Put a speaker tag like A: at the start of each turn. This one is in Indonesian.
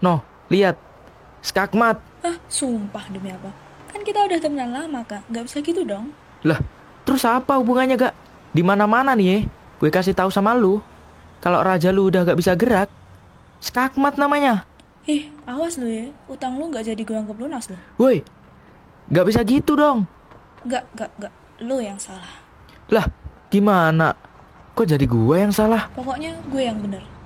A: Noh, lihat. Skakmat.
B: Ah, sumpah demi apa? Kan kita udah temenan lama, Kak. Nggak bisa gitu dong.
A: Lah, terus apa hubungannya, Kak? Di mana-mana nih, eh. gue kasih tahu sama lu. Kalau raja lu udah gak bisa gerak, skakmat namanya.
B: Ih, awas lu ya. Utang lu nggak jadi gue anggap lunas lu.
A: Woi, gak bisa gitu dong.
B: Nggak, nggak, nggak. Lu yang salah.
A: Lah, gimana? Kok jadi gue yang salah?
B: Pokoknya gue yang bener.